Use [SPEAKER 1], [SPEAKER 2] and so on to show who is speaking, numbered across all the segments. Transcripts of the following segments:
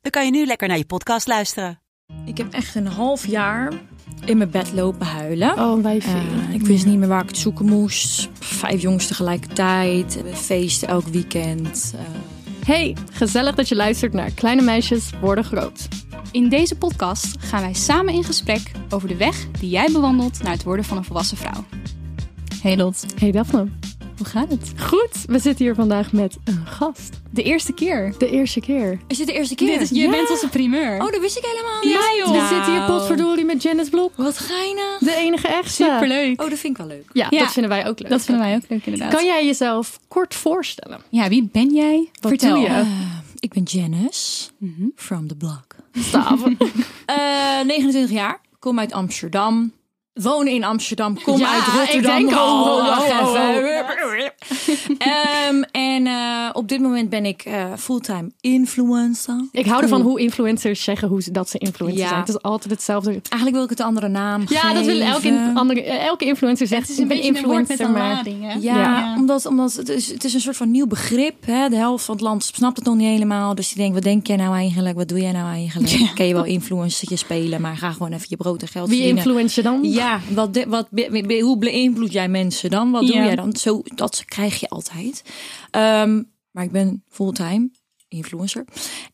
[SPEAKER 1] dan kan je nu lekker naar je podcast luisteren.
[SPEAKER 2] Ik heb echt een half jaar in mijn bed lopen huilen.
[SPEAKER 3] Oh, wij vieren.
[SPEAKER 2] Eh, ik wist niet meer waar ik het zoeken moest. Vijf jongens tegelijkertijd. eh, Feesten elk weekend. eh.
[SPEAKER 3] Hey, gezellig dat je luistert naar Kleine Meisjes Worden Groot.
[SPEAKER 4] In deze podcast gaan wij samen in gesprek over de weg die jij bewandelt naar het worden van een volwassen vrouw.
[SPEAKER 2] Hey Lot,
[SPEAKER 3] Hey Daphne.
[SPEAKER 2] hoe gaat het?
[SPEAKER 3] Goed, we zitten hier vandaag met een gast.
[SPEAKER 4] De eerste keer.
[SPEAKER 3] De eerste keer.
[SPEAKER 2] Is dit de eerste keer?
[SPEAKER 4] Dit is, je bent onze primeur.
[SPEAKER 2] Oh, dat wist ik helemaal niet.
[SPEAKER 4] ja joh. Nou.
[SPEAKER 3] We zitten hier potverdorie met Janice Blok,
[SPEAKER 2] Wat geinig.
[SPEAKER 3] de enige echte.
[SPEAKER 4] Superleuk.
[SPEAKER 2] Oh, dat vind ik wel leuk.
[SPEAKER 3] Ja,
[SPEAKER 4] Ja.
[SPEAKER 3] dat vinden wij ook leuk.
[SPEAKER 4] Dat vinden wij ook leuk inderdaad.
[SPEAKER 3] Kan jij jezelf kort voorstellen?
[SPEAKER 4] Ja, wie ben jij?
[SPEAKER 3] Wat
[SPEAKER 4] Vertel.
[SPEAKER 3] doe je?
[SPEAKER 2] Eh, ik ben Janice, from the block.
[SPEAKER 3] Staven.
[SPEAKER 2] Mhm. Eh, 29 jaar, kom uit Amsterdam. Woon in Amsterdam, kom
[SPEAKER 3] Ja,
[SPEAKER 2] uit Rotterdam.
[SPEAKER 3] ik denk al.
[SPEAKER 2] wacht
[SPEAKER 3] Oh, oh, oh.
[SPEAKER 2] even. Ehm, en eh, op dit moment ben ik eh, fulltime influencer.
[SPEAKER 3] ik hou ervan hoe influencers zeggen hoe ze, dat ze influencers
[SPEAKER 2] Ja.
[SPEAKER 3] zijn. Het is altijd hetzelfde.
[SPEAKER 2] Eigenlijk wil ik het een andere naam
[SPEAKER 3] Ja, dat wil elke,
[SPEAKER 2] geven.
[SPEAKER 3] in- andere, eh, elke influencer zegt.
[SPEAKER 4] Het is een
[SPEAKER 3] ik ben
[SPEAKER 4] beetje een woord met
[SPEAKER 3] influencer,
[SPEAKER 4] een
[SPEAKER 3] maar-
[SPEAKER 4] lading, hè?
[SPEAKER 2] Ja, omdat, omdat het, is, het is een soort van nieuw begrip. Hè? De helft van het land snapt het nog niet helemaal. Dus die denkt, wat denk jij nou eigenlijk? Wat doe jij nou eigenlijk? Kun je wel influencertje spelen, maar ga gewoon even je brood en geld
[SPEAKER 3] Wie
[SPEAKER 2] verdienen.
[SPEAKER 3] influence je dan?
[SPEAKER 2] Ja, wat, de- wat, be- be- be- hoe beïnvloed jij mensen dan? Wat
[SPEAKER 4] Ja.
[SPEAKER 2] doe jij dan? Zo, dat krijg je altijd. Ehm, maar ik ben fulltime influencer.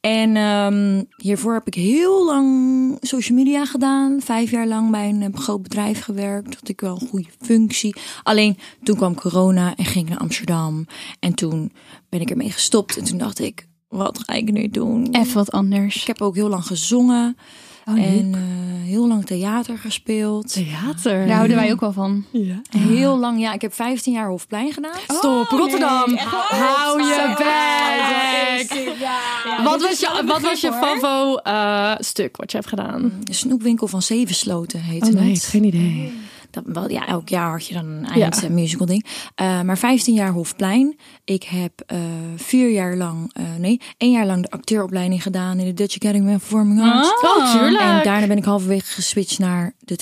[SPEAKER 2] En ehm, hiervoor heb ik heel lang social media gedaan. Vijf jaar lang bij een eh, groot bedrijf gewerkt. Had ik wel een goede functie. Alleen toen kwam corona en ging ik naar Amsterdam. En toen ben ik ermee gestopt. En toen dacht ik, wat ga ik nu doen?
[SPEAKER 4] Even wat anders.
[SPEAKER 2] Ik heb ook heel lang gezongen.
[SPEAKER 4] Oh, leuk.
[SPEAKER 2] en eh, heel lang theater gespeeld.
[SPEAKER 3] Theater.
[SPEAKER 4] Daar houden wij ook wel van.
[SPEAKER 3] ja.
[SPEAKER 2] Heel lang, ja. Ik heb 15 jaar Hofplein gedaan.
[SPEAKER 3] Stop, Rotterdam. Hou je bek. Wat was je, wat was je favo eh, stuk wat je hebt gedaan?
[SPEAKER 2] De snoepwinkel van Zevensloten
[SPEAKER 3] Oh,
[SPEAKER 2] heette het.
[SPEAKER 3] idee.
[SPEAKER 2] Dat, wel, ja, elk jaar had je dan een
[SPEAKER 3] Ja.
[SPEAKER 2] eind eh, musical ding. Eh, maar 15 jaar Hofplein. Ik heb eh, vier jaar lang, eh, nee, één jaar lang de acteeropleiding gedaan in de Dutch Academy of Performing Arts.
[SPEAKER 3] Oh, tuurlijk.
[SPEAKER 2] En daarna ben ik halverwege geswitcht naar de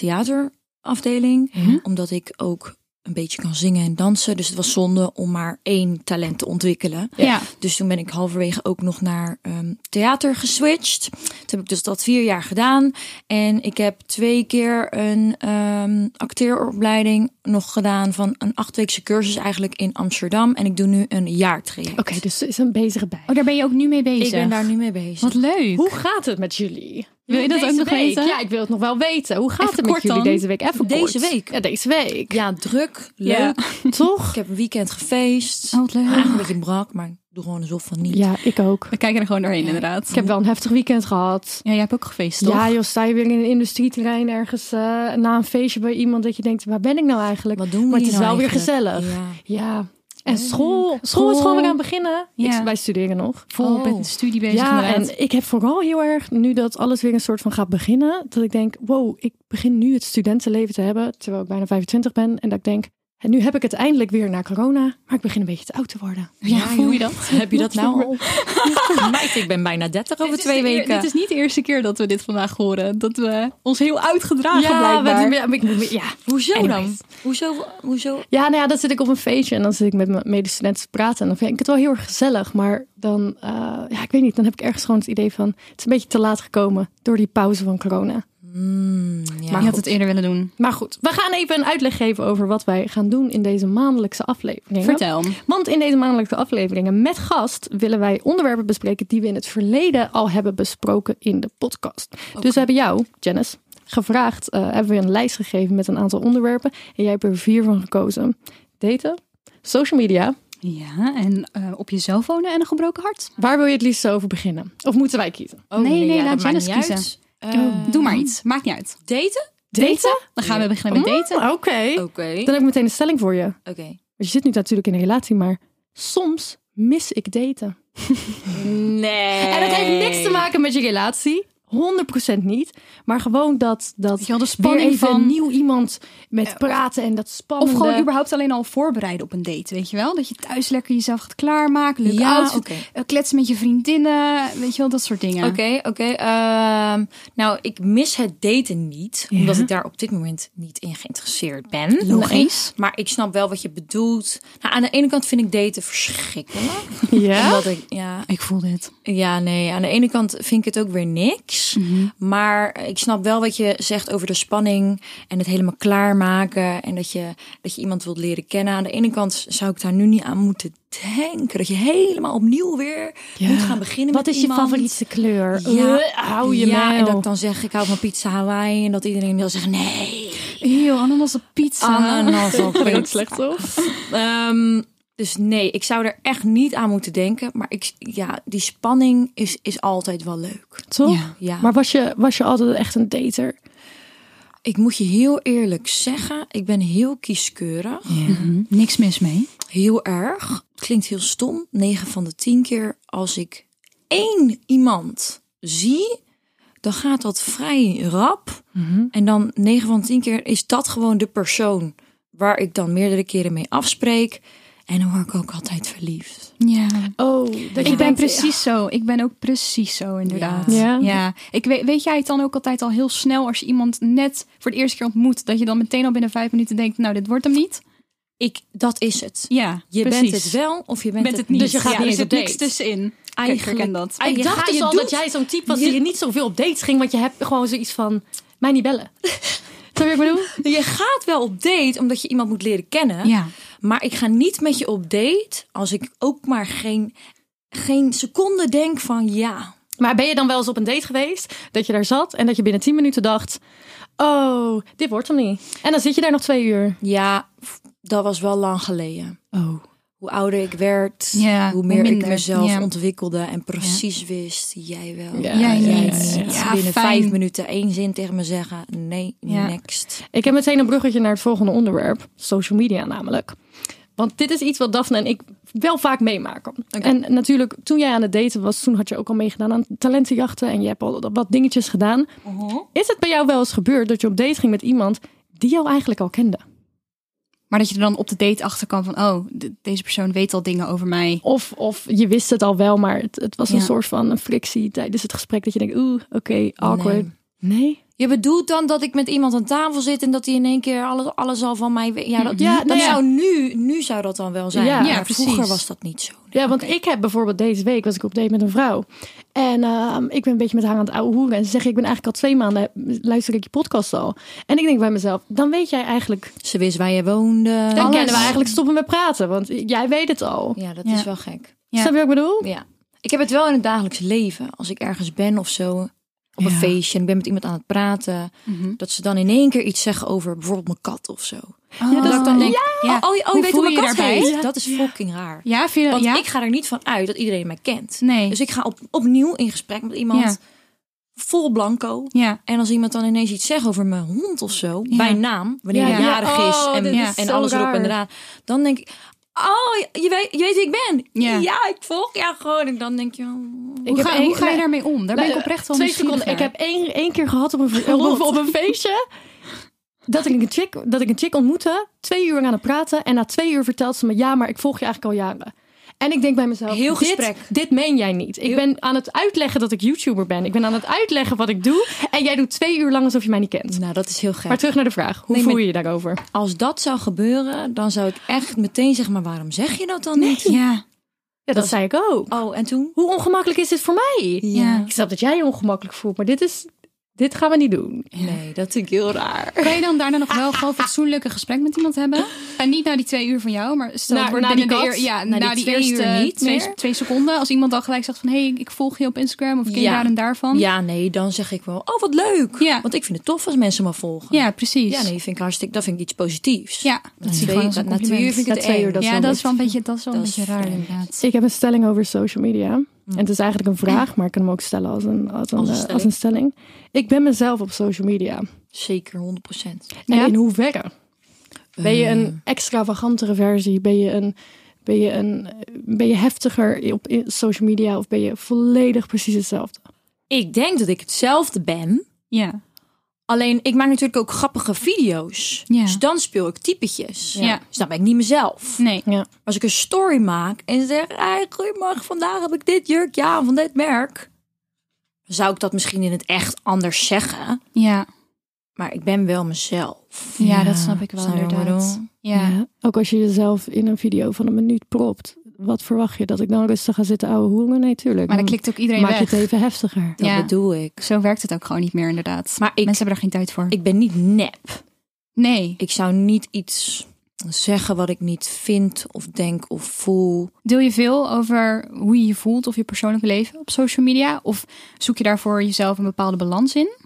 [SPEAKER 2] theaterafdeling. Omdat ik ook een beetje kan zingen en dansen. Dus het was zonde om maar één talent te ontwikkelen.
[SPEAKER 4] Ja.
[SPEAKER 2] Dus toen ben ik halverwege ook nog naar ehm, theater geswitcht. Toen heb ik dus dat vier jaar gedaan. En ik heb twee keer een ehm, acteeropleiding nog gedaan van een achtweekse cursus eigenlijk in Amsterdam. En ik doe nu een jaartraject.
[SPEAKER 3] Oké, dus ze is een bezige bij.
[SPEAKER 4] Oh, daar ben je ook nu mee bezig.
[SPEAKER 2] Ik ben daar nu mee bezig.
[SPEAKER 4] Wat leuk.
[SPEAKER 3] Hoe gaat het met jullie?
[SPEAKER 4] Wil je dat
[SPEAKER 3] Deze
[SPEAKER 4] ook nog
[SPEAKER 3] week?
[SPEAKER 4] weten?
[SPEAKER 3] Ja, ik wil het nog wel weten. Hoe gaat
[SPEAKER 4] Even
[SPEAKER 3] het met
[SPEAKER 4] kort
[SPEAKER 3] jullie
[SPEAKER 4] dan.
[SPEAKER 3] deze week? Even
[SPEAKER 2] Deze
[SPEAKER 3] kort.
[SPEAKER 2] week?
[SPEAKER 3] Ja, deze week.
[SPEAKER 2] Ja, druk, leuk.
[SPEAKER 4] Ja.
[SPEAKER 2] Ik
[SPEAKER 3] Toch?
[SPEAKER 2] heb een weekend gefeest.
[SPEAKER 4] Oh, wat leuk.
[SPEAKER 2] Eigenlijk een beetje brak, maar ik doe gewoon alsof van niet.
[SPEAKER 3] Ja, ik ook.
[SPEAKER 4] We kijken er gewoon doorheen inderdaad.
[SPEAKER 3] Ik heb wel een heftig weekend gehad.
[SPEAKER 4] Ja, jij hebt ook gefeest, toch?
[SPEAKER 3] Ja, joh, sta je weer in een industrieterrein ergens eh, na een feestje bij iemand dat je denkt, waar ben ik nou eigenlijk?
[SPEAKER 2] Wat doen we
[SPEAKER 3] maar het
[SPEAKER 2] hier
[SPEAKER 3] is
[SPEAKER 2] nou
[SPEAKER 3] wel weer
[SPEAKER 2] eigenlijk?
[SPEAKER 3] gezellig.
[SPEAKER 2] Ja.
[SPEAKER 3] Ja. En school. School is gewoon weer aan het beginnen.
[SPEAKER 4] Ja.
[SPEAKER 3] Ik, wij studeren nog.
[SPEAKER 4] Vol
[SPEAKER 2] Oh.
[SPEAKER 4] met de studie bezig
[SPEAKER 3] Ja,
[SPEAKER 4] inderdaad.
[SPEAKER 3] en ik heb vooral heel erg, nu dat alles weer een soort van gaat beginnen, dat ik denk, wow, ik begin nu het studentenleven te hebben, terwijl ik bijna 25 ben. En dat ik denk, en nu heb ik het eindelijk weer na corona, maar ik begin een beetje te oud te worden.
[SPEAKER 4] Ja, voel je
[SPEAKER 2] joh.
[SPEAKER 4] dat?
[SPEAKER 2] Heb je dat nou al? Meid, ik ben bijna 30 over
[SPEAKER 4] Dit is
[SPEAKER 2] twee
[SPEAKER 4] de eer-
[SPEAKER 2] weken.
[SPEAKER 4] dit is niet de eerste keer dat we dit vandaag horen. Dat we ons heel oud gedragen
[SPEAKER 3] we
[SPEAKER 4] blijkbaar.
[SPEAKER 3] doen- ja, maar ik moet meer- ja.
[SPEAKER 2] Hoezo
[SPEAKER 3] Anyways.
[SPEAKER 2] dan? Hoezo? hoezo?
[SPEAKER 3] Ja, nou ja, dan zit ik op een feestje en dan zit ik met mijn medestudenten te praten. En dan vind ik het wel heel erg gezellig. Maar dan, eh, ja, ik weet niet, dan heb ik ergens gewoon het idee van... het is een beetje te laat gekomen door die pauze van corona.
[SPEAKER 2] ja.
[SPEAKER 4] Maar je had het eerder willen doen.
[SPEAKER 3] Maar goed, we gaan even een uitleg geven over wat wij gaan doen in deze maandelijkse aflevering.
[SPEAKER 4] Vertel.
[SPEAKER 3] Want in deze maandelijkse afleveringen met gast willen wij onderwerpen bespreken die we in het verleden al hebben besproken in de podcast. Dus we hebben jou, Janice, gevraagd, eh, hebben we een lijst gegeven met een aantal onderwerpen. En jij hebt er vier van gekozen. Daten, social media.
[SPEAKER 4] Ja, en eh, op jezelf wonen en een gebroken hart.
[SPEAKER 3] Waar wil je het liefst over beginnen? Of moeten wij kiezen?
[SPEAKER 2] Oh,
[SPEAKER 4] nee, nee, laat
[SPEAKER 2] dat maakt
[SPEAKER 4] Janice
[SPEAKER 2] niet
[SPEAKER 4] kiezen.
[SPEAKER 2] uit. Eh,
[SPEAKER 4] Doe maar iets. Maakt niet uit.
[SPEAKER 2] Daten?
[SPEAKER 3] Daten? Mm,
[SPEAKER 4] Dan gaan we beginnen met daten.
[SPEAKER 3] Oké.
[SPEAKER 2] Oké.
[SPEAKER 3] Dan heb ik meteen een stelling voor je.
[SPEAKER 2] Oké.
[SPEAKER 3] Want je zit nu natuurlijk in een relatie, maar soms mis ik daten.
[SPEAKER 2] Nee.
[SPEAKER 3] En dat heeft niks te maken met je relatie. 100% niet. Maar gewoon dat, dat
[SPEAKER 4] je wel, de
[SPEAKER 3] weer
[SPEAKER 4] spanning
[SPEAKER 3] even
[SPEAKER 4] van-
[SPEAKER 3] nieuw iemand met praten en dat
[SPEAKER 4] Of
[SPEAKER 3] spannende.
[SPEAKER 4] gewoon überhaupt alleen al voorbereiden op een date, weet je wel? Dat je thuis lekker jezelf gaat klaarmaken, leuk
[SPEAKER 2] Ja,
[SPEAKER 4] outfit,
[SPEAKER 2] oké.
[SPEAKER 4] eh, kletsen met je vriendinnen, weet je wel, dat soort dingen.
[SPEAKER 2] Oké, oké. ehm, nou, ik mis het daten niet, omdat ik daar op dit moment niet in geïnteresseerd ben.
[SPEAKER 4] Logisch.
[SPEAKER 2] Maar ik snap wel wat je bedoelt. Nou, aan de ene kant vind ik daten verschrikkelijk.
[SPEAKER 3] Ja?
[SPEAKER 2] Omdat ik, ja,
[SPEAKER 4] Ik voel dit.
[SPEAKER 2] ja, nee. Aan de ene kant vind ik het ook weer niks.
[SPEAKER 3] Mhm.
[SPEAKER 2] Maar ik snap wel wat je zegt over de spanning en het helemaal klaarmaken. En dat je, dat je iemand wilt leren kennen. Aan de ene kant zou ik daar nu niet aan moeten denken. Dat je helemaal opnieuw weer moet gaan beginnen
[SPEAKER 3] Wat
[SPEAKER 2] met
[SPEAKER 3] is je
[SPEAKER 2] iemand.
[SPEAKER 3] favoriete kleur?
[SPEAKER 2] Ja,
[SPEAKER 3] Uh, hou je
[SPEAKER 2] ja,
[SPEAKER 3] mijl.
[SPEAKER 2] en dat ik dan zeg, ik hou van pizza Hawaii. En dat iedereen wil zeggen, nee.
[SPEAKER 4] Eeuw, ananas op pizza.
[SPEAKER 2] Ananas op
[SPEAKER 3] Vind ik
[SPEAKER 2] pizza.
[SPEAKER 3] ook Ah. slecht, toch?
[SPEAKER 2] Ehm, dus nee, ik zou er echt niet aan moeten denken. Maar ik, ja, die spanning is, is altijd wel leuk.
[SPEAKER 3] Toch?
[SPEAKER 4] Ja.
[SPEAKER 2] Ja.
[SPEAKER 3] Maar was je, was je altijd echt een dater?
[SPEAKER 2] Ik moet je heel eerlijk zeggen, ik ben heel kieskeurig.
[SPEAKER 4] Niks mis mee.
[SPEAKER 2] Heel erg. Het klinkt heel stom. 9 van de 10 keer als ik één iemand zie, dan gaat dat vrij rap.
[SPEAKER 3] Mhm.
[SPEAKER 2] En dan 9 van de 10 keer is dat gewoon de persoon waar ik dan meerdere keren mee afspreek. En dan word ik ook altijd verliefd.
[SPEAKER 4] Ja.
[SPEAKER 3] Oh, dat
[SPEAKER 4] Ik ben precies zo. Ik ben ook precies zo, inderdaad.
[SPEAKER 3] Ja. Ja?
[SPEAKER 4] Ik weet, weet jij het dan ook altijd al heel snel als je iemand net voor de eerste keer ontmoet, dat je dan meteen al binnen vijf minuten denkt, nou, dit wordt hem niet?
[SPEAKER 2] Ik, dat is het.
[SPEAKER 4] Ja,
[SPEAKER 2] Je
[SPEAKER 4] precies.
[SPEAKER 2] bent het wel of je bent,
[SPEAKER 4] Bent het niet.
[SPEAKER 3] Dus je gaat
[SPEAKER 4] ja,
[SPEAKER 3] niet
[SPEAKER 4] er
[SPEAKER 3] eens
[SPEAKER 4] zit
[SPEAKER 3] op date.
[SPEAKER 4] niks tussenin. Eigenlijk. Ik
[SPEAKER 2] Eigenlijk-
[SPEAKER 4] herken dat.
[SPEAKER 2] Ah,
[SPEAKER 3] Ik
[SPEAKER 2] je
[SPEAKER 3] dacht
[SPEAKER 2] gaat-
[SPEAKER 3] dus
[SPEAKER 2] je
[SPEAKER 3] al
[SPEAKER 2] doet-
[SPEAKER 3] dat jij zo'n type was die je niet zoveel op dates ging. Want je hebt gewoon zoiets van, mij niet bellen. Zou je wat ik bedoel?
[SPEAKER 2] Nou, Je gaat wel op date omdat je iemand moet leren kennen.
[SPEAKER 4] Ja.
[SPEAKER 2] Maar ik ga niet met je op date als ik ook maar geen, geen seconde denk van ja.
[SPEAKER 3] Maar ben je dan wel eens op een date geweest dat je daar zat en dat je binnen 10 minuten dacht: Oh, dit wordt hem niet. En dan zit je daar nog twee uur.
[SPEAKER 2] Ja, f- dat was wel lang geleden.
[SPEAKER 3] Oh.
[SPEAKER 2] Hoe ouder ik werd,
[SPEAKER 4] Ja,
[SPEAKER 2] hoe
[SPEAKER 4] hoe
[SPEAKER 2] meer ik
[SPEAKER 4] minder.
[SPEAKER 2] mezelf
[SPEAKER 4] Ja.
[SPEAKER 2] ontwikkelde en precies wist jij wel.
[SPEAKER 3] Ja,
[SPEAKER 4] ja, ja,
[SPEAKER 2] jij
[SPEAKER 4] ja,
[SPEAKER 2] niet.
[SPEAKER 4] ja. Ja,
[SPEAKER 2] Binnen
[SPEAKER 4] fijn.
[SPEAKER 2] vijf minuten één zin tegen me zeggen. Nee,
[SPEAKER 4] Ja.
[SPEAKER 2] next.
[SPEAKER 3] Ik heb meteen een bruggetje naar het volgende onderwerp: social media namelijk. Want dit is iets wat Daphne en ik wel vaak meemaken. En natuurlijk, toen jij aan het daten was, toen had je ook al meegedaan aan talentenjachten en je hebt al wat dingetjes gedaan. Is het bij jou wel eens gebeurd dat je op date ging met iemand die jou eigenlijk al kende?
[SPEAKER 4] Maar dat je er dan op de date achter kan van, oh, de- deze persoon weet al dingen over mij.
[SPEAKER 3] Of, of je wist het al wel, maar het, het was een
[SPEAKER 2] Ja.
[SPEAKER 3] soort van een frictie tijdens het gesprek dat je denkt, oeh, oké, awkward. nee?
[SPEAKER 2] Je bedoelt dan dat ik met iemand aan tafel zit en dat hij in één keer alles, alles al van mij weet. Ja, dat,
[SPEAKER 3] Ja,
[SPEAKER 2] dat
[SPEAKER 3] nou ja.
[SPEAKER 2] zou nu, nu zou dat dan wel zijn.
[SPEAKER 3] Ja.
[SPEAKER 2] Maar
[SPEAKER 4] Ja,
[SPEAKER 2] vroeger
[SPEAKER 4] precies.
[SPEAKER 2] was dat niet zo.
[SPEAKER 3] Ja, want ik heb bijvoorbeeld deze week was ik op date met een vrouw. En ehm, ik ben een beetje met haar aan het ouwe hoeren. En ze zegt, ik ben eigenlijk al twee maanden, luister ik je podcast al. En ik denk bij mezelf, dan weet jij eigenlijk,
[SPEAKER 2] Ze wist waar je woonde.
[SPEAKER 3] dan
[SPEAKER 2] Alles.
[SPEAKER 3] kennen we eigenlijk stoppen met praten. Want jij weet het al.
[SPEAKER 2] Ja, dat
[SPEAKER 4] Ja.
[SPEAKER 2] is wel gek.
[SPEAKER 4] Ja.
[SPEAKER 3] Snap je wat ik bedoel?
[SPEAKER 2] Ja. Ik heb het wel in het dagelijks leven. Als ik ergens ben of zo, op een
[SPEAKER 3] Ja.
[SPEAKER 2] feestje en ik ben met iemand aan het praten.
[SPEAKER 4] Mhm.
[SPEAKER 2] Dat ze dan in één keer iets zeggen over bijvoorbeeld mijn kat of zo.
[SPEAKER 4] Ja,
[SPEAKER 2] dat ik dan denk,
[SPEAKER 4] ja.
[SPEAKER 2] oh, oh, je- oh,
[SPEAKER 4] Hoe
[SPEAKER 2] je weet
[SPEAKER 4] voel
[SPEAKER 2] hoe mijn
[SPEAKER 4] je
[SPEAKER 2] kat
[SPEAKER 4] daarbij?
[SPEAKER 2] heet.
[SPEAKER 4] Ja.
[SPEAKER 2] Dat is fucking raar.
[SPEAKER 4] Ja, vind je dat-
[SPEAKER 2] Want
[SPEAKER 4] ja?
[SPEAKER 2] ik ga er niet van uit dat iedereen mij kent.
[SPEAKER 4] Nee.
[SPEAKER 2] Dus ik ga op, opnieuw in gesprek met iemand
[SPEAKER 4] Ja.
[SPEAKER 2] vol blanco.
[SPEAKER 4] Ja.
[SPEAKER 2] En als iemand dan ineens iets zegt over mijn hond of zo,
[SPEAKER 4] Ja.
[SPEAKER 2] bij naam, wanneer
[SPEAKER 3] Ja,
[SPEAKER 2] hij
[SPEAKER 3] ja.
[SPEAKER 2] jarig
[SPEAKER 3] Oh,
[SPEAKER 2] is en,
[SPEAKER 3] dit
[SPEAKER 4] is
[SPEAKER 2] en
[SPEAKER 3] zo
[SPEAKER 2] alles erop
[SPEAKER 3] raar.
[SPEAKER 2] en eraan, dan denk ik, oh, je weet, je weet wie ik ben.
[SPEAKER 4] Ja.
[SPEAKER 2] Ja. ik volg jou gewoon. En dan denk je, oh,
[SPEAKER 3] Ik
[SPEAKER 4] Hoe,
[SPEAKER 3] heb
[SPEAKER 4] ga,
[SPEAKER 3] één-
[SPEAKER 4] hoe ga je daarmee om? Daar ben ik oprecht wel
[SPEAKER 3] Twee
[SPEAKER 4] nieuwsgierig
[SPEAKER 3] seconden. Ik
[SPEAKER 4] naar.
[SPEAKER 3] heb één, één keer gehad op een, op, op een feestje. Dat ik, een chick, dat ik een chick ontmoette. Twee uur aan het praten. En na twee uur vertelt ze me. Ja, maar ik volg je eigenlijk al jaren. En ik denk bij mezelf.
[SPEAKER 2] Heel
[SPEAKER 3] dit-
[SPEAKER 2] gesprek.
[SPEAKER 3] Dit, meen jij niet. Ik ben aan het uitleggen dat ik YouTuber ben. Ik ben aan het uitleggen wat ik doe. En jij doet twee uur lang alsof je mij niet kent.
[SPEAKER 2] nou dat is heel gek.
[SPEAKER 3] Maar terug naar de vraag. Hoe
[SPEAKER 2] Nee,
[SPEAKER 3] voel
[SPEAKER 2] maar-
[SPEAKER 3] je je daarover?
[SPEAKER 2] Als dat zou gebeuren, dan zou ik echt meteen zeggen, maar waarom zeg je dat dan niet?
[SPEAKER 4] Ja.
[SPEAKER 3] Ja, dat zei ik ook.
[SPEAKER 2] Oh, en toen?
[SPEAKER 3] Hoe ongemakkelijk is dit voor mij?
[SPEAKER 4] Ja.
[SPEAKER 3] Ik snap dat jij je ongemakkelijk voelt. Maar dit is... Dit gaan we niet doen.
[SPEAKER 2] Nee, dat vind ik heel raar.
[SPEAKER 4] Kan je dan daarna nog wel gewoon fatsoenlijk een gesprek met iemand hebben? En niet na die twee uur van jou, maar stel
[SPEAKER 3] Na-
[SPEAKER 4] het wordt
[SPEAKER 3] na
[SPEAKER 4] binnen
[SPEAKER 3] die
[SPEAKER 4] de
[SPEAKER 3] kat?
[SPEAKER 4] eer- ja,
[SPEAKER 2] Na
[SPEAKER 4] na,
[SPEAKER 2] die
[SPEAKER 4] die,
[SPEAKER 2] twee
[SPEAKER 4] eerste
[SPEAKER 2] uur niet meer?
[SPEAKER 4] twee, twee seconden. Als iemand dan gelijk zegt van, hé, hey, ik volg je op Instagram of ken je
[SPEAKER 2] Ja.
[SPEAKER 4] daar en daarvan.
[SPEAKER 2] Ja, nee, dan zeg ik wel, oh wat leuk.
[SPEAKER 4] Ja.
[SPEAKER 2] Want ik vind het tof als mensen me volgen.
[SPEAKER 4] Ja, precies.
[SPEAKER 2] Ja, nee, vind ik hartstikke, dat vind ik iets positiefs.
[SPEAKER 4] Ja,
[SPEAKER 2] Na
[SPEAKER 4] zie ik
[SPEAKER 2] twee,
[SPEAKER 4] gewoon als
[SPEAKER 2] na,
[SPEAKER 4] een
[SPEAKER 2] na twee
[SPEAKER 4] compliment.
[SPEAKER 2] uur vind ik
[SPEAKER 3] Na
[SPEAKER 2] het
[SPEAKER 3] twee
[SPEAKER 2] eng.
[SPEAKER 3] uur, dat is
[SPEAKER 4] ja,
[SPEAKER 3] wel
[SPEAKER 4] dat
[SPEAKER 3] een
[SPEAKER 4] is wel een beetje, dat is wel een
[SPEAKER 2] Dat is
[SPEAKER 4] beetje raar
[SPEAKER 2] vreemd.
[SPEAKER 4] inderdaad.
[SPEAKER 3] Dus Ik heb een stelling over social media. En het is eigenlijk een vraag, maar ik kan hem ook stellen als een, als een,
[SPEAKER 2] Als een
[SPEAKER 3] eh,
[SPEAKER 2] stelling.
[SPEAKER 3] als een stelling. Ik ben mezelf op social media.
[SPEAKER 2] Zeker, 100%.
[SPEAKER 3] En
[SPEAKER 4] Ja?
[SPEAKER 3] in hoeverre? Ben je een extravagantere versie? Ben je een Ben je, een, ben je heftiger op in- social media of ben je volledig precies hetzelfde?
[SPEAKER 2] Ik denk dat ik hetzelfde ben.
[SPEAKER 4] Ja.
[SPEAKER 2] Alleen, ik maak natuurlijk ook grappige video's.
[SPEAKER 4] Ja.
[SPEAKER 2] Dus dan speel ik typetjes.
[SPEAKER 4] Ja.
[SPEAKER 2] Dus dan ben ik niet mezelf.
[SPEAKER 4] Nee.
[SPEAKER 3] Ja.
[SPEAKER 2] Als ik een story maak en zeg... Hey, goedemorgen, vandaag heb ik dit jurk ja, van dit merk. Dan zou ik dat misschien in het echt anders zeggen.
[SPEAKER 4] Ja.
[SPEAKER 2] Maar ik ben wel mezelf.
[SPEAKER 4] Ja, dat snap ik wel
[SPEAKER 2] Snap je wat ik
[SPEAKER 4] inderdaad.
[SPEAKER 2] bedoel?
[SPEAKER 4] Ja.
[SPEAKER 3] Ja, Ook als je jezelf in een video van een minuut propt. Wat verwacht je? Dat ik dan rustig ga zitten ouwe hoeren? Nee, tuurlijk.
[SPEAKER 4] Maar dan klikt ook iedereen
[SPEAKER 3] Maak
[SPEAKER 4] weg.
[SPEAKER 3] je het even heftiger.
[SPEAKER 2] Dat
[SPEAKER 4] Ja.
[SPEAKER 2] bedoel ik.
[SPEAKER 4] Zo werkt het ook gewoon niet meer inderdaad.
[SPEAKER 2] Maar ik-
[SPEAKER 4] Mensen hebben er geen tijd voor.
[SPEAKER 2] Ik ben niet nep.
[SPEAKER 4] nee.
[SPEAKER 2] Ik zou niet iets zeggen wat ik niet vind of denk of voel.
[SPEAKER 4] Deel je veel over hoe je je voelt of je persoonlijke leven op social media? Of zoek je daarvoor jezelf een bepaalde balans in?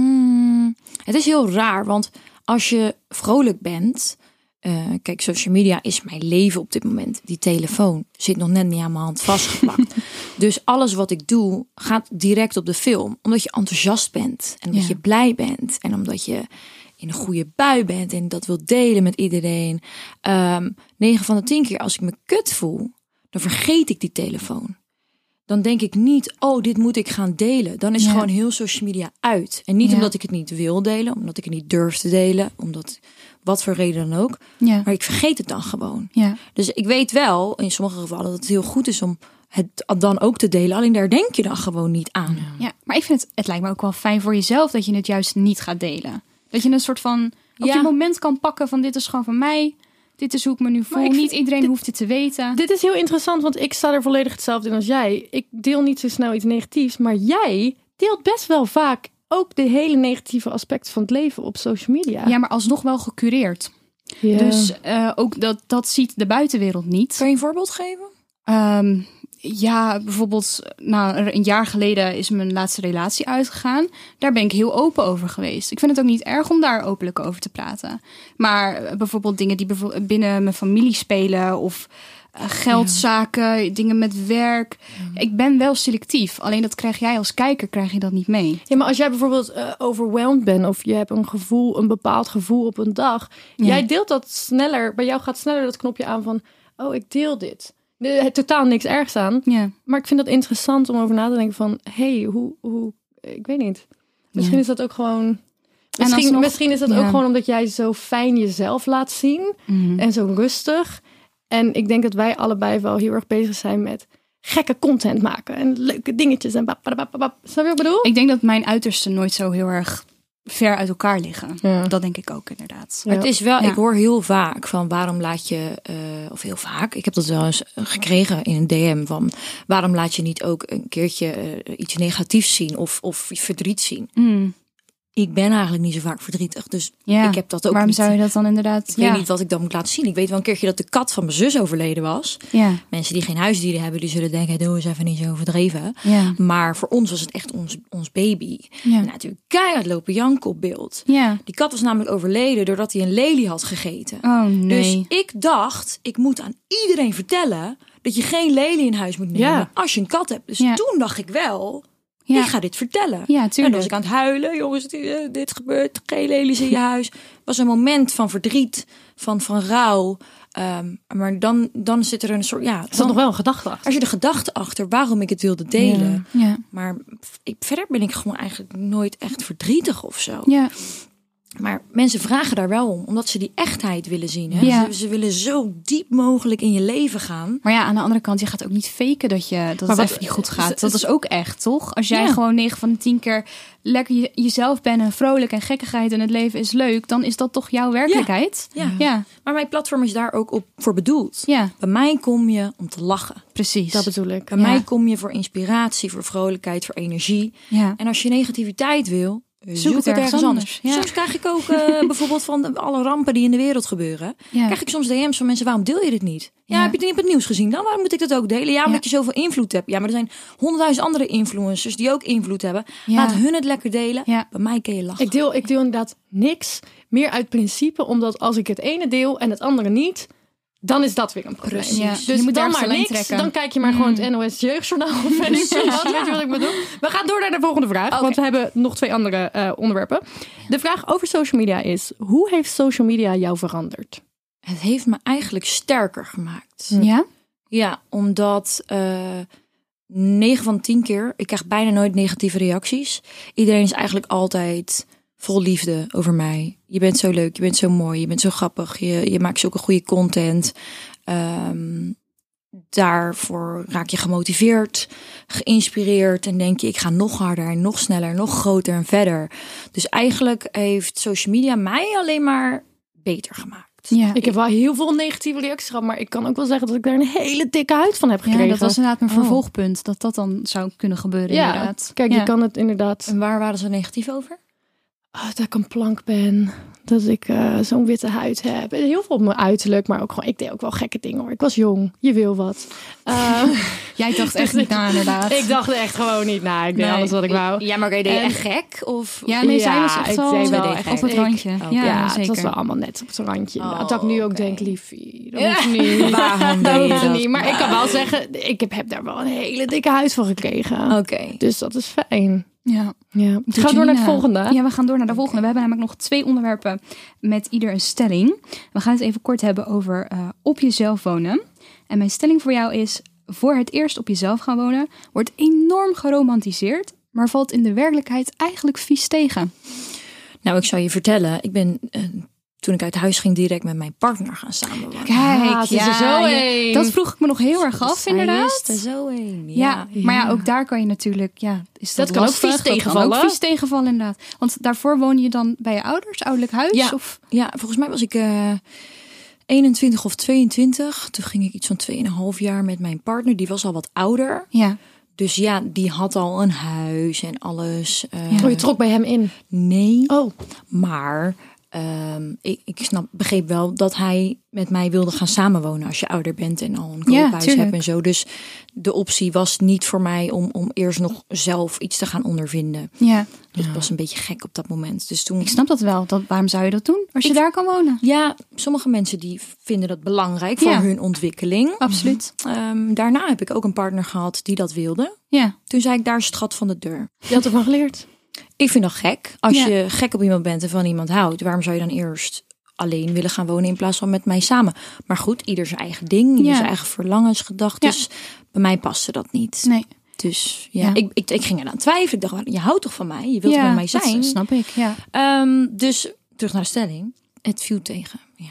[SPEAKER 2] Mm, het is heel raar, want als je vrolijk bent. eh, kijk, social media is mijn leven op dit moment. Die telefoon zit nog net niet aan mijn hand vastgeplakt. dus alles wat ik doe gaat direct op de film. Omdat je enthousiast bent. En omdat
[SPEAKER 4] Ja.
[SPEAKER 2] je blij bent. En omdat je in een goede bui bent. En dat wil delen met iedereen. Ehm 9 van de 10 keer als ik me kut voel, dan vergeet ik die telefoon dan denk ik niet, oh, dit moet ik gaan delen. Dan is
[SPEAKER 4] Ja.
[SPEAKER 2] gewoon heel social media uit. En niet
[SPEAKER 4] Ja.
[SPEAKER 2] omdat ik het niet wil delen, omdat ik het niet durf te delen, omdat wat voor reden dan ook.
[SPEAKER 4] Ja.
[SPEAKER 2] Maar ik vergeet het dan gewoon.
[SPEAKER 4] Ja.
[SPEAKER 2] Dus ik weet wel in sommige gevallen dat het heel goed is om het dan ook te delen. Alleen daar denk je dan gewoon niet aan.
[SPEAKER 4] Ja, maar ik vind het, het lijkt me ook wel fijn voor jezelf dat je het juist niet gaat delen. Dat je een soort van op
[SPEAKER 2] Ja.
[SPEAKER 4] je moment kan pakken van dit is gewoon van mij. Dit is hoe ik me nu voel.
[SPEAKER 3] ik vind-
[SPEAKER 4] niet iedereen hoeft dit te weten.
[SPEAKER 3] Dit is heel interessant, want ik sta er volledig hetzelfde in als jij. Ik deel niet zo snel iets negatiefs, maar jij deelt best wel vaak ook de hele negatieve aspecten van het leven op social media.
[SPEAKER 4] Ja, maar alsnog wel gecureerd. Dus eh, ook dat, dat ziet de buitenwereld niet.
[SPEAKER 2] Kan je een voorbeeld geven?
[SPEAKER 4] Ehm, ja, bijvoorbeeld, nou, een jaar geleden is mijn laatste relatie uitgegaan. Daar ben ik heel open over geweest. Ik vind het ook niet erg om daar openlijk over te praten. Maar eh, bijvoorbeeld dingen die bijvo- binnen mijn familie spelen of eh, geldzaken, dingen met werk. Ik ben wel selectief. Alleen dat krijg jij als kijker, krijg je dat niet mee.
[SPEAKER 3] Ja, maar als jij bijvoorbeeld eh, overwhelmed bent of je hebt een gevoel, een bepaald gevoel op een dag, jij deelt dat sneller. Bij jou gaat sneller dat knopje aan van, oh, ik deel dit. Nee, totaal niks ergs aan.
[SPEAKER 4] Ja.
[SPEAKER 3] Maar ik vind dat interessant om over na te denken van, hey, hoe, hoe, ik weet niet. Misschien is dat ook gewoon. Misschien,
[SPEAKER 4] alsnog-
[SPEAKER 3] misschien is dat ook
[SPEAKER 4] ja.
[SPEAKER 3] gewoon omdat jij zo fijn jezelf laat zien en zo rustig. En ik denk dat wij allebei wel heel erg bezig zijn met gekke content maken en leuke dingetjes en bap, bap, bap, bap, bap. Snap je wat ik bedoel?
[SPEAKER 4] Ik denk dat mijn uitersten nooit zo heel erg ver uit elkaar liggen.
[SPEAKER 3] Ja.
[SPEAKER 4] Dat denk ik ook inderdaad.
[SPEAKER 3] Ja.
[SPEAKER 2] Maar het is wel,
[SPEAKER 4] Ja.
[SPEAKER 2] ik hoor heel vaak van waarom laat je, eh, of heel vaak, ik heb dat wel eens gekregen in een DM van waarom laat je niet ook een keertje eh, iets negatiefs zien of, of verdriet zien.
[SPEAKER 4] Mm.
[SPEAKER 2] Ik ben eigenlijk niet zo vaak verdrietig, dus
[SPEAKER 4] Ja.
[SPEAKER 2] ik heb dat ook
[SPEAKER 4] Waarom
[SPEAKER 2] niet.
[SPEAKER 4] zou je dat dan inderdaad?
[SPEAKER 2] Ik
[SPEAKER 4] ja.
[SPEAKER 2] weet niet wat ik dan moet laten zien. Ik weet wel een keertje dat de kat van mijn zus overleden was.
[SPEAKER 4] Ja.
[SPEAKER 2] Mensen die geen huisdieren hebben, die zullen denken, doe eens even niet zo overdreven.
[SPEAKER 4] Ja.
[SPEAKER 2] Maar voor ons was het echt ons, ons baby.
[SPEAKER 4] Ja.
[SPEAKER 2] En natuurlijk keihard lopen janken op beeld.
[SPEAKER 4] Ja.
[SPEAKER 2] Die kat was namelijk overleden doordat hij een lelie had gegeten.
[SPEAKER 4] Oh nee.
[SPEAKER 2] Dus ik dacht, ik moet aan iedereen vertellen dat je geen lelie in huis moet nemen
[SPEAKER 3] Ja.
[SPEAKER 2] als je een kat hebt. Dus
[SPEAKER 4] Ja.
[SPEAKER 2] toen dacht ik wel,
[SPEAKER 4] Ja.
[SPEAKER 2] ik ga dit vertellen.
[SPEAKER 4] Ja,
[SPEAKER 2] en dan
[SPEAKER 4] tuurlijk.
[SPEAKER 2] was ik aan het huilen, jongens, dit, eh, dit gebeurt, geen lelies in je huis. was een moment van verdriet, van, van rouw. Ehm, maar dan, dan zit er een soort, ja,
[SPEAKER 3] Er zat nog
[SPEAKER 2] dan-
[SPEAKER 3] wel een gedachte
[SPEAKER 2] als
[SPEAKER 3] achter.
[SPEAKER 2] je de gedachte achter waarom ik het wilde delen.
[SPEAKER 4] ja.
[SPEAKER 2] Maar ik, verder ben ik gewoon eigenlijk nooit echt verdrietig of zo.
[SPEAKER 4] Ja.
[SPEAKER 2] Maar mensen vragen daar wel om, omdat ze die echtheid willen zien. Hè?
[SPEAKER 4] Ja.
[SPEAKER 2] Ze, ze willen zo diep mogelijk in je leven gaan.
[SPEAKER 4] Maar ja, aan de andere kant, je gaat ook niet faken dat, je, dat het
[SPEAKER 3] wat-
[SPEAKER 4] even niet goed
[SPEAKER 3] is-
[SPEAKER 4] gaat. Dat
[SPEAKER 3] is-
[SPEAKER 4] is ook echt, toch? Als jij
[SPEAKER 2] Ja.
[SPEAKER 4] gewoon 9 van de 10 keer lekker je- jezelf bent en vrolijk en gekkigheid en het leven is leuk, dan is dat toch jouw werkelijkheid?
[SPEAKER 2] Ja.
[SPEAKER 4] Ja,
[SPEAKER 2] Maar mijn platform is daar ook op voor bedoeld.
[SPEAKER 4] Ja.
[SPEAKER 2] Bij mij kom je om te lachen.
[SPEAKER 4] precies.
[SPEAKER 3] Dat bedoel ik.
[SPEAKER 2] Bij mij kom je voor inspiratie, voor vrolijkheid, voor energie.
[SPEAKER 4] Ja.
[SPEAKER 2] En als je negativiteit wil, eh, zoek,
[SPEAKER 4] het
[SPEAKER 2] het ergens
[SPEAKER 4] ergens
[SPEAKER 2] anders.
[SPEAKER 4] anders, ja.
[SPEAKER 2] Soms krijg ik ook eh, bijvoorbeeld van de- alle rampen die in de wereld gebeuren.
[SPEAKER 4] Ja.
[SPEAKER 2] Krijg ik soms DM's van mensen, waarom deel je dit niet? Ja,
[SPEAKER 4] Ja.
[SPEAKER 2] heb je het niet op het nieuws gezien? Dan waarom moet ik dat ook delen? Ja, omdat je zoveel invloed hebt. Ja, maar er zijn honderdduizend andere influencers die ook invloed hebben.
[SPEAKER 4] Ja.
[SPEAKER 2] Laat hun het lekker delen.
[SPEAKER 4] Ja.
[SPEAKER 2] Bij mij kun je lachen.
[SPEAKER 3] Ik deel, ik deel inderdaad niks meer uit principe, omdat als ik het ene deel en het andere niet, dan is dat weer een probleem.
[SPEAKER 2] Precies.
[SPEAKER 4] Ja.
[SPEAKER 3] Dus
[SPEAKER 4] je moet
[SPEAKER 3] dan
[SPEAKER 4] ergens
[SPEAKER 3] maar
[SPEAKER 4] een lijn
[SPEAKER 3] niks,
[SPEAKER 4] trekken. Mm.
[SPEAKER 3] dan kijk je maar gewoon het NOS Jeugdjournaal. Of weet ik veel wat, weet je wat ik bedoel? We gaan door naar de volgende vraag,
[SPEAKER 4] Oh,
[SPEAKER 3] want we hebben nog twee andere eh, onderwerpen. De vraag over social media is, hoe heeft social media jou veranderd?
[SPEAKER 2] Het heeft me eigenlijk sterker gemaakt.
[SPEAKER 4] Ja?
[SPEAKER 2] Ja, omdat eh 9 van 10 keer, ik krijg bijna nooit negatieve reacties. Iedereen is eigenlijk altijd vol liefde over mij. Je bent zo leuk, je bent zo mooi, je bent zo grappig, je, je maakt zulke goede content. Ehm, daarvoor raak je gemotiveerd, geïnspireerd en denk je ik ga nog harder en nog sneller, nog groter en verder. Dus eigenlijk heeft social media mij alleen maar beter gemaakt.
[SPEAKER 4] ja.
[SPEAKER 3] Ik heb wel heel veel negatieve reacties gehad, maar ik kan ook wel zeggen dat ik daar een hele dikke huid van heb gekregen.
[SPEAKER 4] ja, dat was inderdaad mijn
[SPEAKER 3] Oh.
[SPEAKER 4] vervolgpunt. Dat dat dan zou kunnen gebeuren
[SPEAKER 3] Ja,
[SPEAKER 4] inderdaad.
[SPEAKER 3] Kijk,
[SPEAKER 4] ja.
[SPEAKER 3] je kan het inderdaad.
[SPEAKER 2] En waar waren ze negatief over?
[SPEAKER 3] Oh, dat ik een plank ben. Dat ik eh, zo'n witte huid heb. En Heel veel op mijn uiterlijk, maar ook gewoon. Ik deed ook wel gekke dingen hoor. Ik was jong. Je wil wat. Eh,
[SPEAKER 4] Jij dacht echt niet na inderdaad.
[SPEAKER 3] ik dacht echt gewoon niet na. Ik deed
[SPEAKER 4] Nee,
[SPEAKER 3] alles wat ik wou.
[SPEAKER 2] Ja, maar oké, deed je
[SPEAKER 3] En-
[SPEAKER 2] echt gek? Of,
[SPEAKER 4] Ja, nee, zij
[SPEAKER 3] Ja,
[SPEAKER 4] was echt
[SPEAKER 3] ik
[SPEAKER 4] wel,
[SPEAKER 3] zei wel
[SPEAKER 4] op
[SPEAKER 3] echt-
[SPEAKER 4] het
[SPEAKER 3] ik-
[SPEAKER 4] randje.
[SPEAKER 2] Oh,
[SPEAKER 4] ja,
[SPEAKER 3] Ja,
[SPEAKER 4] zeker.
[SPEAKER 3] het was wel allemaal net op het randje. inderdaad. dat ik
[SPEAKER 2] Oh,
[SPEAKER 3] nu ook
[SPEAKER 2] oké.
[SPEAKER 3] denk, liefie, dat
[SPEAKER 2] Ja.
[SPEAKER 3] hoeft niet.
[SPEAKER 2] Waarom
[SPEAKER 3] dat
[SPEAKER 2] deed je
[SPEAKER 3] hoeft
[SPEAKER 2] dat?
[SPEAKER 3] niet. Maar ik kan wel zeggen, ik heb, heb daar wel een hele dikke huid van gekregen.
[SPEAKER 2] Oké.
[SPEAKER 3] Dus dat is fijn.
[SPEAKER 4] Ja.
[SPEAKER 3] Ja.
[SPEAKER 4] Doet
[SPEAKER 3] Ga door naar het
[SPEAKER 4] Janina.
[SPEAKER 3] volgende.
[SPEAKER 4] Ja, we gaan door naar de volgende. We hebben namelijk nog twee onderwerpen met ieder een stelling. We gaan het even kort hebben over eh, op jezelf wonen. En mijn stelling voor jou is: voor het eerst op jezelf gaan wonen wordt enorm geromantiseerd, maar valt in de werkelijkheid eigenlijk vies tegen.
[SPEAKER 2] Nou, ik zal je vertellen. Ik ben eh, toen ik uit huis ging direct met mijn partner gaan samenwonen.
[SPEAKER 4] Kijk,
[SPEAKER 3] het is er zo een.
[SPEAKER 4] dat vroeg ik me nog heel erg af,
[SPEAKER 2] Hij
[SPEAKER 4] inderdaad.
[SPEAKER 2] is er zo een.
[SPEAKER 4] Ja,
[SPEAKER 2] Ja.
[SPEAKER 4] maar ja, ook daar kan je natuurlijk, ja, is dat,
[SPEAKER 3] Dat kan ook
[SPEAKER 4] lastig?
[SPEAKER 3] vies
[SPEAKER 4] Dat kan
[SPEAKER 3] tegenvallen.
[SPEAKER 4] ook vies tegenvallen, inderdaad. Want daarvoor woon je dan bij je ouders, ouderlijk huis?
[SPEAKER 2] Ja.
[SPEAKER 4] Of,
[SPEAKER 2] ja, volgens mij was ik eh, 21 of 22. Toen ging ik iets van 2,5 jaar met mijn partner. Die was al wat ouder.
[SPEAKER 4] ja.
[SPEAKER 2] Dus ja, die had al een huis en alles. Eh,
[SPEAKER 3] Oh, je trok bij hem in.
[SPEAKER 2] Nee.
[SPEAKER 3] Oh,
[SPEAKER 2] Maar ehm, ik, ik snap, begreep wel dat hij met mij wilde gaan samenwonen als je ouder bent en al een
[SPEAKER 4] Ja,
[SPEAKER 2] koophuis
[SPEAKER 4] tuurlijk.
[SPEAKER 2] hebt en zo. Dus de optie was niet voor mij om, om eerst nog zelf iets te gaan ondervinden.
[SPEAKER 4] ja.
[SPEAKER 2] Dus het was een beetje gek op dat moment. Dus toen.
[SPEAKER 4] Ik snap dat wel. Dat, waarom zou je dat doen als je
[SPEAKER 2] Ik-
[SPEAKER 4] daar kan wonen?
[SPEAKER 2] Ja, sommige mensen die vinden dat belangrijk voor
[SPEAKER 4] Ja.
[SPEAKER 2] hun ontwikkeling.
[SPEAKER 4] Absoluut.
[SPEAKER 2] Ehm, daarna heb ik ook een partner gehad die dat wilde.
[SPEAKER 4] Ja.
[SPEAKER 2] Toen zei ik, daar is het gat van de deur.
[SPEAKER 3] je had ervan geleerd.
[SPEAKER 2] Ik vind dat gek. Als
[SPEAKER 4] Ja.
[SPEAKER 2] je gek op iemand bent en van iemand houdt, waarom zou je dan eerst alleen willen gaan wonen in plaats van met mij samen? Maar goed, ieder zijn eigen ding, ieder
[SPEAKER 4] Ja.
[SPEAKER 2] zijn eigen verlangens, gedachten. Bij mij paste dat niet.
[SPEAKER 4] Nee.
[SPEAKER 2] Dus ja,
[SPEAKER 4] Ja.
[SPEAKER 2] Ik, ik, ik ging eraan twijfelen. Ik dacht, je houdt toch van mij? Je wilt toch bij mij
[SPEAKER 4] dat
[SPEAKER 2] zijn?
[SPEAKER 4] snap ik. Ja.
[SPEAKER 2] Ehm, dus terug naar de stelling. Het viel tegen. Ja.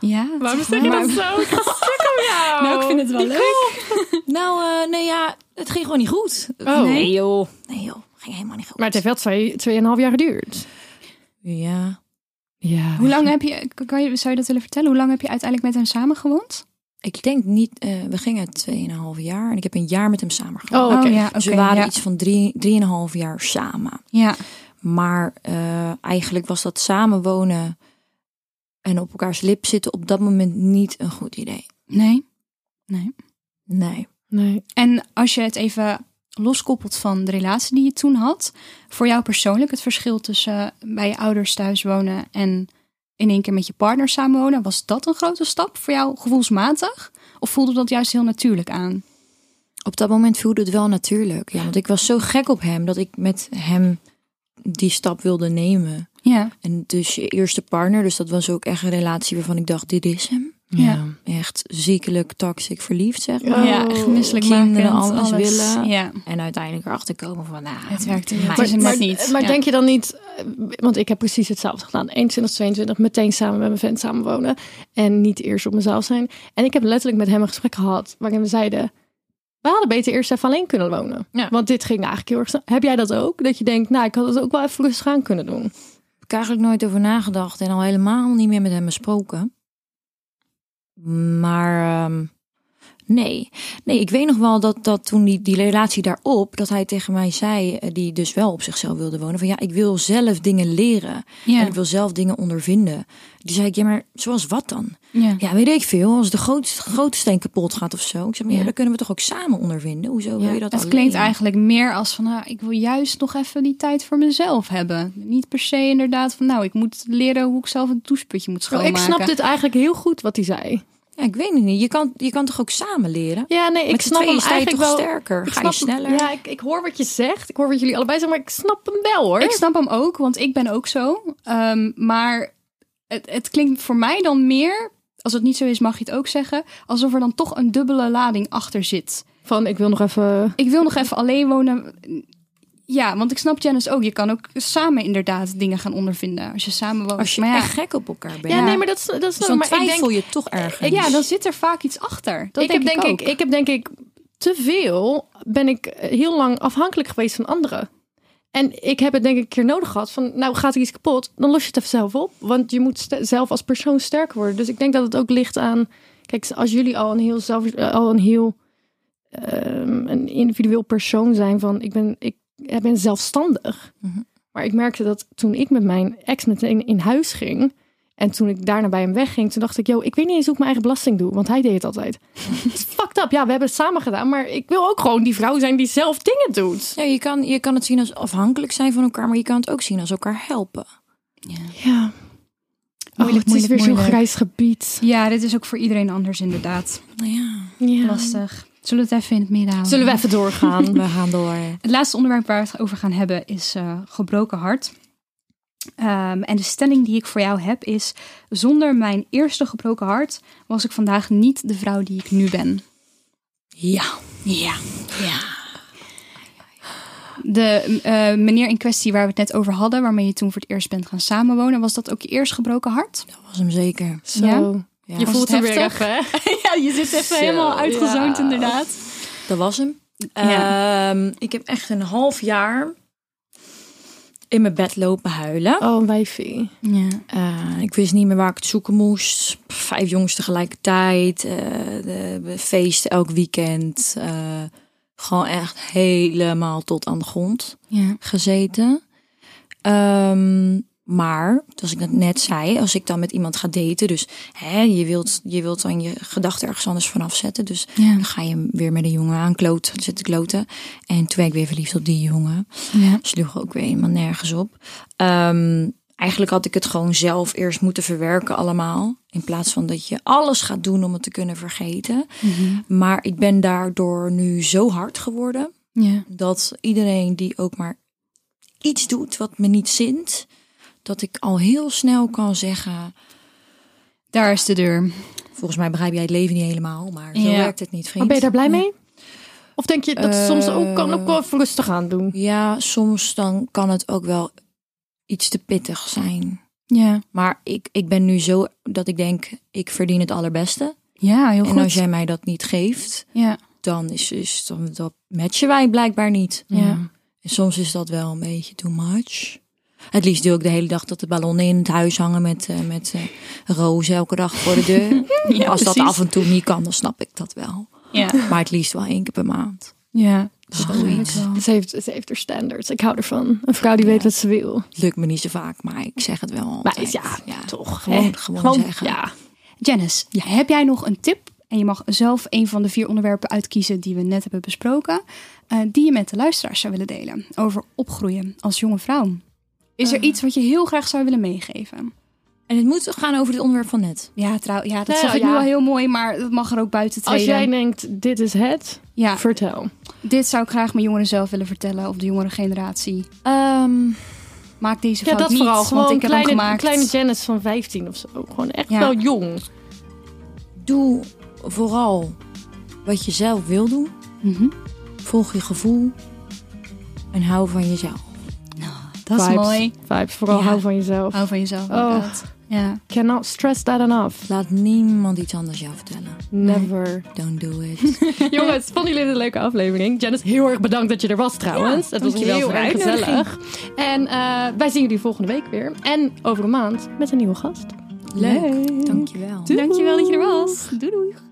[SPEAKER 4] Ja. Maar-
[SPEAKER 3] zo? Ik ga stuk op jou.
[SPEAKER 4] Nou, ik vind het wel leuk.
[SPEAKER 2] Nou, eh, nee ja, het ging gewoon niet goed.
[SPEAKER 3] Oh.
[SPEAKER 2] Nee joh. Nee joh, ging helemaal niet goed.
[SPEAKER 3] Maar het heeft wel twee, tweeënhalf jaar geduurd.
[SPEAKER 2] Ja,
[SPEAKER 3] Ja.
[SPEAKER 4] Hoe lang heb je, kan je, zou je dat willen vertellen? Hoe lang heb je uiteindelijk met hem samen gewoond?
[SPEAKER 2] ik denk niet, eh, we gingen 2,5 jaar en ik heb een jaar met hem samen gewoond.
[SPEAKER 3] Oh, oké.
[SPEAKER 4] ja, oké.
[SPEAKER 2] Ze waren
[SPEAKER 4] ja.
[SPEAKER 2] iets van drie, drieënhalf jaar samen.
[SPEAKER 4] Ja.
[SPEAKER 2] Maar eh, eigenlijk was dat samenwonen en op elkaars lip zitten op dat moment niet een goed idee.
[SPEAKER 4] Nee.
[SPEAKER 2] Nee.
[SPEAKER 3] Nee.
[SPEAKER 4] En als je het even loskoppelt van de relatie die je toen had, voor jou persoonlijk het verschil tussen eh, bij je ouders thuis wonen en in één keer met je partner samenwonen, was dat een grote stap voor jou gevoelsmatig? Of voelde dat juist heel natuurlijk aan?
[SPEAKER 2] Op dat moment voelde het wel natuurlijk. Ja, want ik was zo gek op hem dat ik met hem die stap wilde nemen.
[SPEAKER 4] Ja,
[SPEAKER 2] En dus je eerste partner, dus dat was ook echt een relatie waarvan ik dacht, dit is hem.
[SPEAKER 4] Ja.
[SPEAKER 2] Echt ziekelijk, toxic, verliefd zeg maar.
[SPEAKER 3] Oh.
[SPEAKER 4] ja echt misselijkmakend.
[SPEAKER 2] Kinderen, alles willen.
[SPEAKER 4] Ja,
[SPEAKER 2] En uiteindelijk erachter komen van, nou,
[SPEAKER 4] het werkte
[SPEAKER 2] mij.
[SPEAKER 4] niet. Het is hem
[SPEAKER 3] maar,
[SPEAKER 4] net niet.
[SPEAKER 3] maar
[SPEAKER 4] Ja.
[SPEAKER 3] denk je dan niet, eh, want ik heb precies hetzelfde gedaan. 21, 22, meteen samen met mijn vent samen wonen. En niet eerst op mezelf zijn. En ik heb letterlijk met hem een gesprek gehad waarin we zeiden... We hadden beter eerst even alleen kunnen wonen.
[SPEAKER 2] Ja.
[SPEAKER 3] Want dit ging eigenlijk heel erg... snel. Heb jij dat ook? Dat je denkt, nou, ik had het ook wel even rustig aan kunnen doen.
[SPEAKER 2] Ik heb eigenlijk nooit over nagedacht en al helemaal niet meer met hem besproken. Maar ehm, nee. nee, ik weet nog wel dat, dat toen die, die relatie daarop, dat hij tegen mij zei, eh, die dus wel op zichzelf wilde wonen, van ja, ik wil zelf dingen leren en
[SPEAKER 4] Ja.
[SPEAKER 2] ik wil zelf dingen ondervinden. Die zei ik, ja, maar zoals wat dan?
[SPEAKER 4] Ja.
[SPEAKER 2] Ja, weet ik veel, als de grootste, grote steen kapot gaat of zo. Ik zeg, maar ja,
[SPEAKER 3] Ja.
[SPEAKER 2] dat kunnen we toch ook samen ondervinden? Hoezo wil je dat
[SPEAKER 4] het
[SPEAKER 2] alleen?
[SPEAKER 4] klinkt eigenlijk meer als van, nou, ik wil juist nog even die tijd voor mezelf hebben. Niet per se inderdaad van, nou, ik moet leren hoe ik zelf een doucheputje moet
[SPEAKER 3] Oh, Nou, ik
[SPEAKER 4] schoonmaken.
[SPEAKER 3] snap dit eigenlijk heel goed wat hij zei.
[SPEAKER 2] Ja, ik weet het niet. Je kan, je kan toch ook samen leren?
[SPEAKER 3] Ja, nee, ik
[SPEAKER 2] Met z'n
[SPEAKER 3] snap hem
[SPEAKER 2] tweeën sta je
[SPEAKER 3] eigenlijk
[SPEAKER 2] toch
[SPEAKER 3] wel.
[SPEAKER 2] sterker?
[SPEAKER 3] Ik
[SPEAKER 2] Ga je
[SPEAKER 3] snap hem-
[SPEAKER 2] sneller?
[SPEAKER 3] Ja, ik, ik hoor wat je zegt. Ik hoor wat jullie allebei zeggen, maar ik snap hem wel hoor.
[SPEAKER 4] Ik snap hem ook, want ik ben ook zo. Ehm, maar het, het klinkt voor mij dan meer Als het niet zo is, mag je het ook zeggen. Alsof er dan toch een dubbele lading achter zit.
[SPEAKER 3] Van ik wil nog even.
[SPEAKER 4] Ik wil nog even alleen wonen. Ja, want ik snap Janice ook. Je kan ook samen inderdaad dingen gaan ondervinden. Als je samen woont.
[SPEAKER 2] Als je
[SPEAKER 4] maar ja,
[SPEAKER 2] echt gek op elkaar bent.
[SPEAKER 3] Ja, nee, maar dat is, dat is
[SPEAKER 2] dan
[SPEAKER 3] maar ik denk-
[SPEAKER 2] twijfel je toch ergens.
[SPEAKER 4] ja, dan zit er vaak iets achter. Dat
[SPEAKER 3] ik
[SPEAKER 4] denk,
[SPEAKER 3] heb denk
[SPEAKER 4] ik
[SPEAKER 3] ik,
[SPEAKER 4] ook.
[SPEAKER 3] ik heb denk ik te veel ben ik eh, heel lang afhankelijk geweest van anderen. En ik heb het denk ik een keer nodig gehad van, nou gaat er iets kapot, dan los je het even zelf op. Want je moet st- zelf als persoon sterker worden. Dus ik denk dat het ook ligt aan, kijk, als jullie al een heel zelf, eh, al een heel ehm, een individueel persoon zijn van, ik ben, ik, ik ben zelfstandig.
[SPEAKER 2] Mhm.
[SPEAKER 3] Maar ik merkte dat toen ik met mijn ex meteen in huis ging, en toen ik daarna bij hem wegging, toen dacht ik, yo, ik weet niet eens hoe ik mijn eigen belasting doe, want hij deed het altijd. Het is fucked up. Ja, we hebben het samen gedaan, maar ik wil ook gewoon die vrouw zijn die zelf dingen doet.
[SPEAKER 2] Ja, je, kan, je kan het zien als afhankelijk zijn van elkaar, maar je kan het ook zien als elkaar helpen.
[SPEAKER 3] Ja.
[SPEAKER 4] Moeilijk,
[SPEAKER 3] oh, het is
[SPEAKER 4] moeilijk,
[SPEAKER 3] weer zo'n
[SPEAKER 4] moeilijk.
[SPEAKER 3] grijs gebied.
[SPEAKER 4] Ja, dit is ook voor iedereen anders inderdaad.
[SPEAKER 2] Nou ja,
[SPEAKER 3] Ja.
[SPEAKER 4] Lastig. Zullen we het even in het midden houden?
[SPEAKER 3] Zullen we even doorgaan?
[SPEAKER 2] we gaan door.
[SPEAKER 4] Het laatste onderwerp waar we het over gaan hebben is eh, gebroken hart. Ehm, en de stelling die ik voor jou heb is: zonder mijn eerste gebroken hart was ik vandaag niet de vrouw die ik nu ben.
[SPEAKER 2] Ja, ja, ja.
[SPEAKER 4] De eh, meneer in kwestie waar we het net over hadden, waarmee je toen voor het eerst bent gaan samenwonen, was dat ook je eerst gebroken hart?
[SPEAKER 2] Dat was hem zeker.
[SPEAKER 3] Zo.
[SPEAKER 4] Ja.
[SPEAKER 2] Ja,
[SPEAKER 3] Je
[SPEAKER 4] Was
[SPEAKER 3] voelt
[SPEAKER 4] het
[SPEAKER 3] hem weer
[SPEAKER 4] heftig?
[SPEAKER 3] even, hè?
[SPEAKER 4] Ja, je zit even
[SPEAKER 3] helemaal uitgezoomd,
[SPEAKER 4] inderdaad.
[SPEAKER 2] dat was hem.
[SPEAKER 4] Ja.
[SPEAKER 2] Ehm, ik heb echt een half jaar in mijn bed lopen huilen.
[SPEAKER 3] Oh, een wijfie.
[SPEAKER 4] Ja.
[SPEAKER 2] Eh, ik wist niet meer waar ik het zoeken moest. Vijf jongens tegelijkertijd. eh, de, de feesten elk weekend. eh, gewoon echt helemaal tot aan de grond
[SPEAKER 4] ja.
[SPEAKER 2] gezeten. Ehm, maar, zoals ik dat net zei, als ik dan met iemand ga daten, dus hè, je, wilt, je wilt dan je gedachten ergens anders vanaf zetten. Dus
[SPEAKER 4] Ja.
[SPEAKER 2] dan ga je weer met een jongen aan kloot, zitten kloten. En toen werd ik weer verliefd op die jongen
[SPEAKER 4] ja.
[SPEAKER 2] sloeg ook weer helemaal nergens op. Ehm, eigenlijk had ik het gewoon zelf eerst moeten verwerken allemaal. In plaats van dat je alles gaat doen om het te kunnen vergeten.
[SPEAKER 3] Mhm.
[SPEAKER 2] Maar ik ben daardoor nu zo hard geworden.
[SPEAKER 4] ja.
[SPEAKER 2] Dat iedereen die ook maar iets doet wat me niet zint. Dat ik al heel snel kan zeggen.
[SPEAKER 4] Daar is de deur.
[SPEAKER 2] Volgens mij begrijp jij het leven niet helemaal. Maar zo
[SPEAKER 4] Ja.
[SPEAKER 2] werkt het niet, vriend.
[SPEAKER 3] Maar ben je daar blij mee? Of denk je dat het soms ook kan
[SPEAKER 4] Eh,
[SPEAKER 3] ook wel even rustig aan doen?
[SPEAKER 2] Ja, soms dan kan het ook wel iets te pittig zijn.
[SPEAKER 4] Ja.
[SPEAKER 2] Maar ik, ik ben nu zo dat ik denk, ik verdien het allerbeste.
[SPEAKER 4] Ja, heel
[SPEAKER 2] en
[SPEAKER 4] goed.
[SPEAKER 2] als jij mij dat niet geeft,
[SPEAKER 4] Ja.
[SPEAKER 2] dan is, is dan, dat matchen wij blijkbaar niet.
[SPEAKER 4] Ja.
[SPEAKER 2] En soms is dat wel een beetje too much. Het liefst doe ik de hele dag dat de ballonnen in het huis hangen met, eh, met eh, rozen elke dag voor de deur. als dat
[SPEAKER 4] precies.
[SPEAKER 2] af en toe niet kan, dan snap ik dat wel.
[SPEAKER 4] Ja.
[SPEAKER 2] Maar het liefst wel één keer per maand.
[SPEAKER 4] Ja.
[SPEAKER 2] Zoiets.
[SPEAKER 3] Ze heeft, ze heeft haar standards. Ik hou ervan. Een vrouw die weet wat ze wil.
[SPEAKER 2] Lukt me niet zo vaak, maar ik zeg het wel altijd.
[SPEAKER 3] Maar ja, toch.
[SPEAKER 2] Gewoon,
[SPEAKER 3] hè?
[SPEAKER 2] gewoon, zeggen.
[SPEAKER 3] Ja.
[SPEAKER 4] Janice, heb jij nog een tip? En je mag zelf een van de vier onderwerpen uitkiezen die we net hebben besproken, eh, die je met de luisteraars zou willen delen over opgroeien als jonge vrouw. Is
[SPEAKER 3] Ah.
[SPEAKER 4] er iets wat je heel graag zou willen meegeven?
[SPEAKER 2] En het moet gaan over het onderwerp van net.
[SPEAKER 4] Ja, trouw, ja dat
[SPEAKER 3] Nou,
[SPEAKER 4] zag ik
[SPEAKER 3] ja.
[SPEAKER 4] nu wel heel mooi, maar dat mag er ook buiten treden.
[SPEAKER 3] Als jij denkt, dit is het,
[SPEAKER 4] ja,
[SPEAKER 3] vertel.
[SPEAKER 4] dit zou ik graag mijn jongeren zelf willen vertellen, of de jongere generatie.
[SPEAKER 2] Ehm,
[SPEAKER 4] Maak deze
[SPEAKER 3] Ja,
[SPEAKER 4] fout
[SPEAKER 3] dat
[SPEAKER 4] niet,
[SPEAKER 3] vooral.
[SPEAKER 4] want
[SPEAKER 3] Gewoon
[SPEAKER 4] ik heb hem
[SPEAKER 3] kleine,
[SPEAKER 4] gemaakt.
[SPEAKER 3] kleine Janice van 15 of zo. Gewoon echt
[SPEAKER 4] Ja.
[SPEAKER 3] wel jong.
[SPEAKER 2] Doe vooral wat je zelf wil doen.
[SPEAKER 4] Mhm.
[SPEAKER 2] Volg je gevoel en hou van jezelf.
[SPEAKER 4] Dat is
[SPEAKER 3] Vibes.
[SPEAKER 4] mooi.
[SPEAKER 3] Vibes, vooral
[SPEAKER 4] Ja.
[SPEAKER 3] hou van jezelf.
[SPEAKER 4] Hou van jezelf,
[SPEAKER 3] Oh.
[SPEAKER 4] inderdaad. Ja.
[SPEAKER 3] Cannot stress that enough.
[SPEAKER 2] Laat niemand iets anders jou vertellen.
[SPEAKER 3] Never.
[SPEAKER 2] Don't do it.
[SPEAKER 3] Jongens, vonden jullie dit een leuke aflevering? Janice, heel erg bedankt dat je er was trouwens. het was
[SPEAKER 2] dankjewel
[SPEAKER 3] heel
[SPEAKER 2] voor de
[SPEAKER 3] erg
[SPEAKER 2] uitnodiging.
[SPEAKER 3] gezellig. En eh, wij zien jullie volgende week weer. En over een maand met een nieuwe gast.
[SPEAKER 2] Leuk. Dankjewel.
[SPEAKER 4] Dankjewel dat je er was. Doei doei.